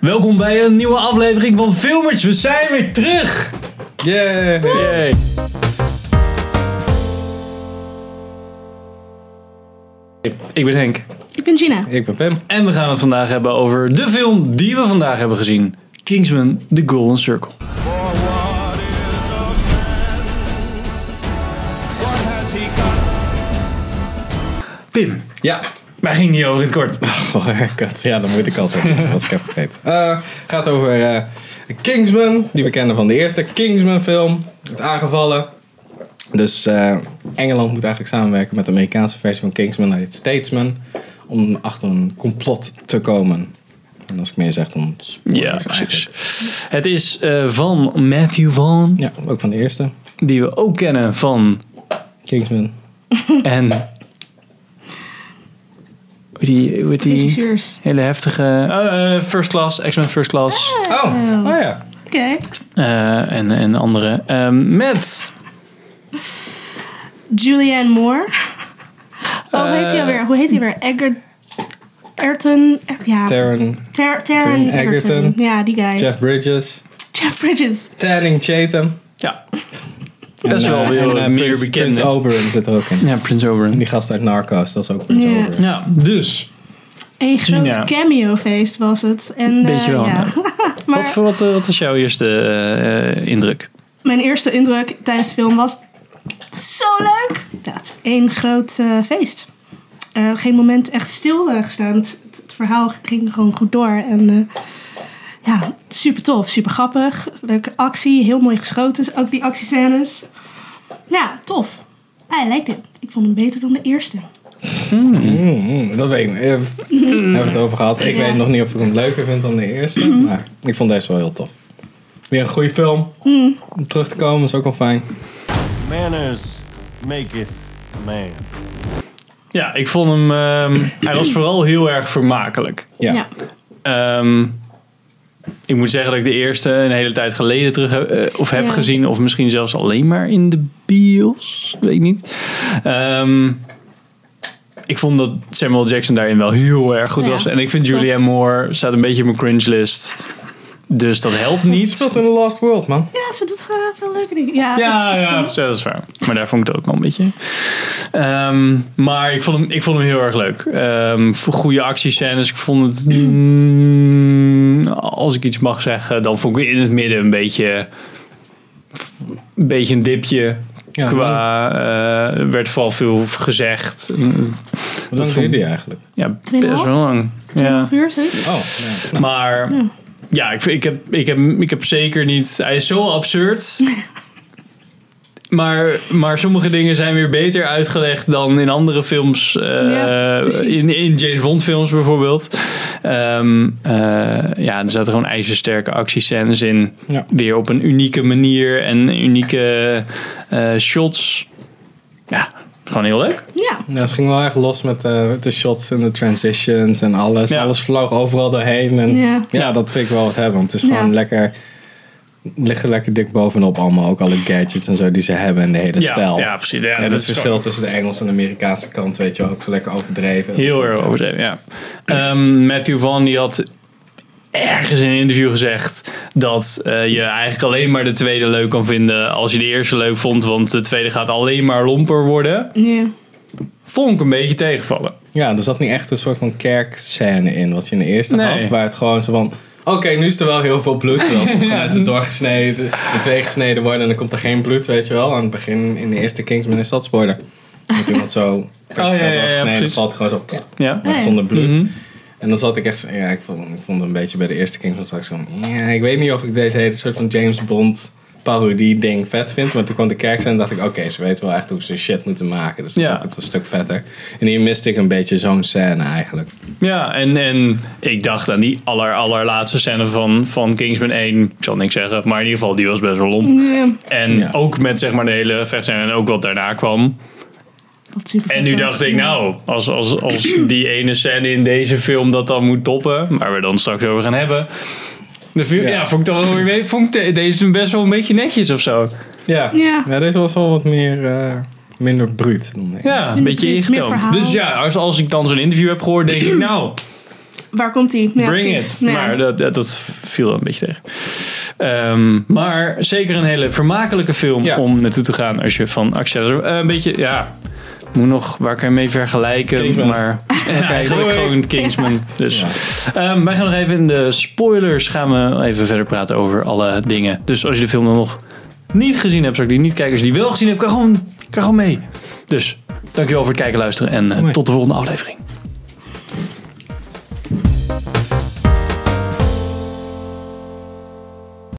Welkom bij een nieuwe aflevering van Filmers. We zijn weer terug. Yeah. Yay. Ik- Ik ben Henk. Ik ben Gina. Ik ben Pim. En we gaan het vandaag hebben over de film die we vandaag hebben gezien. Kingsman The Golden Circle. Pim, Ja. waar ging die over in het kort? Oh, kut. Ja, dat moet ik altijd. Als ik heb vergeten. Eh, gaat over eh, Kingsman, die we kennen van de eerste Kingsman-film. Wordt aangevallen. Dus eh, Engeland moet eigenlijk samenwerken met de Amerikaanse versie van Kingsman. Dat heet Statesman. Om achter een complot te komen. En als ik meer zeg, dan... spoilers Ja, eigenlijk. precies. Het is eh, van Matthew Vaughn, Ja, ook van de eerste. die we ook kennen van Kingsman. En. hoe Die, hoe heet die Regisseurs. hele heftige. eh, eh, first Class, X-Men First Class. Oh, oh ja. Oké. eh, en, en andere. Ehm, met. Julianne Moore. Oh, hoe heet hij alweer? Hoe heet hij weer? Eggert... Ayrton... Ja. Taron, Ter- Taron Taron Egerton. Egerton. Ja, die guy. Jeff Bridges, Jeff Bridges. Tanning Chatham. Ja. Best En, wel eh, weer en, eh, meer Prins- bekende. Prins Oberyn zit er ook in. Ja, Prins En Oberyn. die gast uit Narcos, dat is ook Prins Ja. Oberyn. Ja, dus. Een groot Gina. cameo-feest was het. En, eh, Beetje wel, Ja. ja. maar Wat, voor- wat, eh, wat was jouw eerste eh, eh, indruk? mijn eerste indruk tijdens de film was... "Het is Zo leuk! Ja, het is één groot eh, feest. Er geen moment echt stil eh, gestaan. Het, het- het verhaal ging gewoon goed door. En... eh, ja, super tof, super grappig. Leuke actie, heel mooi geschoten. Ook die actiescènes. Ja, tof. I liked it. Ik vond hem beter dan de eerste. Mm, dat weet ik niet. Eh, Hebben we het over gehad. Ik Ja. Mhm. weet nog niet of ik hem leuker vind dan de eerste. Maar ik vond deze wel heel tof. Weer een goede film. Mhm. Om terug te komen is ook wel fijn. Manners maketh man. Ja, ik vond hem. ehm, hij was vooral heel erg vermakelijk. Ja. Ehm, ik moet zeggen dat ik de eerste een hele tijd geleden terug heb, eh, of heb Ja. gezien. Of misschien zelfs alleen maar in de bios. Weet ik niet. Ehm, ik vond dat Samuel Jackson daarin wel heel erg goed Ja. was. En ik vind Dat- Julianne Moore staat een beetje op mijn cringe list. Dus dat helpt Niet. niet. Speelt in The Lost World, man. Ja, ze doet eh, veel leuke dingen. Ja, Ja, ik- ja, zo, dat is waar. Maar daar vond ik het ook wel een beetje. Ehm, maar ik vond, hem, ik vond hem heel erg leuk. Ehm, voor goede actiescènes. Ik vond het. mm, als ik iets mag zeggen, dan vond ik in het midden een beetje. Een beetje een dipje. Ja, qua. eh, er werd vooral veel gezegd. Mm, Hoe lang duurde die eigenlijk? Ja, best Tweeënhalf? wel lang. Ja. Ongeveer, zoiets. Oh, ja. Nou, Maar ja, ik, ik, heb, ik, heb, ik heb zeker niet. Hij is zo absurd. maar, maar sommige dingen zijn weer beter uitgelegd dan in andere films. eh, Ja, precies. in, in James Bond films bijvoorbeeld. Ehm, eh, ja, er zaten gewoon ijzersterke actiescènes in. Ja. Weer op een unieke manier en unieke eh, shots. Ja, gewoon heel leuk. Ja, ja, ze ging wel erg los met eh, met de shots en de transitions en alles. Ja. Alles vloog overal doorheen. En ja. Ja. dat vind ik wel wat hebben. Want het is Ja. gewoon lekker... Liggen lekker dik bovenop allemaal. Ook alle gadgets en zo die ze hebben. En de hele stijl. ja, precies. Ja, En dat het is verschil tussen de Engelse en de Amerikaanse kant, weet je wel, ook lekker overdreven. Heel Dus, erg eh, overdreven, ja. Ehm, Matthew Van die had ergens in een interview gezegd dat eh, je eigenlijk alleen maar de tweede leuk kan vinden als je de eerste leuk vond, want de tweede gaat alleen maar lomper worden. ja. Vond ik een beetje tegenvallen. Ja, er zat niet echt een soort van kerkscène in, wat je in de eerste Nee. had, waar het gewoon zo van... Oké, nu is er wel heel veel bloed. Terwijl sommige mensen doorgesneden, in twee gesneden worden en dan komt er geen bloed, weet je wel. Aan het begin, in de eerste Kingsman is dat spoiler. Dat iemand zo verticaal Oh, ja, ja, ja, doorgesneden precies. valt, gewoon zo Ja. Ah, Ja. Nee. zonder bloed. Mhm. En dan zat ik echt zo, ja, ik vond, ik vond een beetje bij de eerste Kingsman straks van, ja, ik weet niet of ik deze hele soort van James Bond parodie ding vet vind. Maar toen kwam de kerk en dacht ik, oké, ze weten wel echt hoe ze shit moeten maken. Dus dan Ja. vond ik het een stuk vetter. En hier miste ik een beetje zo'n scène eigenlijk. Ja, en, en ik dacht aan die aller, allerlaatste scène van, van Kingsman 1. Ik zal niks zeggen, maar in ieder geval, die was best wel lomp. Ja, En Ja. ook met zeg maar de hele vechtscène en ook wat daarna kwam. wat super En vet nu was. dacht ik, Ja. nou, als, als, als die ene scène in deze film dat dan moet toppen, waar we dan straks over gaan hebben. De vu- ja. Ja. vond ik toch wel weer mee. Vond ik de- deze best wel een beetje netjes of zo. Ja, Ja. deze was wel wat meer, eh, minder bruut dan de Ja, eerste. een beetje Iets meer ingetoomd. verhaal. Dus ja, als, als ik dan zo'n interview heb gehoord, denk ik, nou, Waar komt die? Ja, Bring precies. it. Nou ja. Maar dat, dat, dat viel een beetje tegen. Ehm, maar zeker een hele vermakelijke film Ja. om naartoe te gaan als je van Access. een beetje, ja. Moet nog, waar kan je mee vergelijken? Kingsman. Maar eigenlijk Doei. gewoon Kingsman. Dus. Ehm, wij gaan nog even in de spoilers. Gaan we even verder praten over alle dingen. Dus als je de film dan nog niet gezien hebt, zou ik die niet kijken. Als je die wel gezien hebt, kan gewoon, kan gewoon mee. Dus dankjewel voor het kijken, luisteren. En eh, Mooi. tot de volgende aflevering.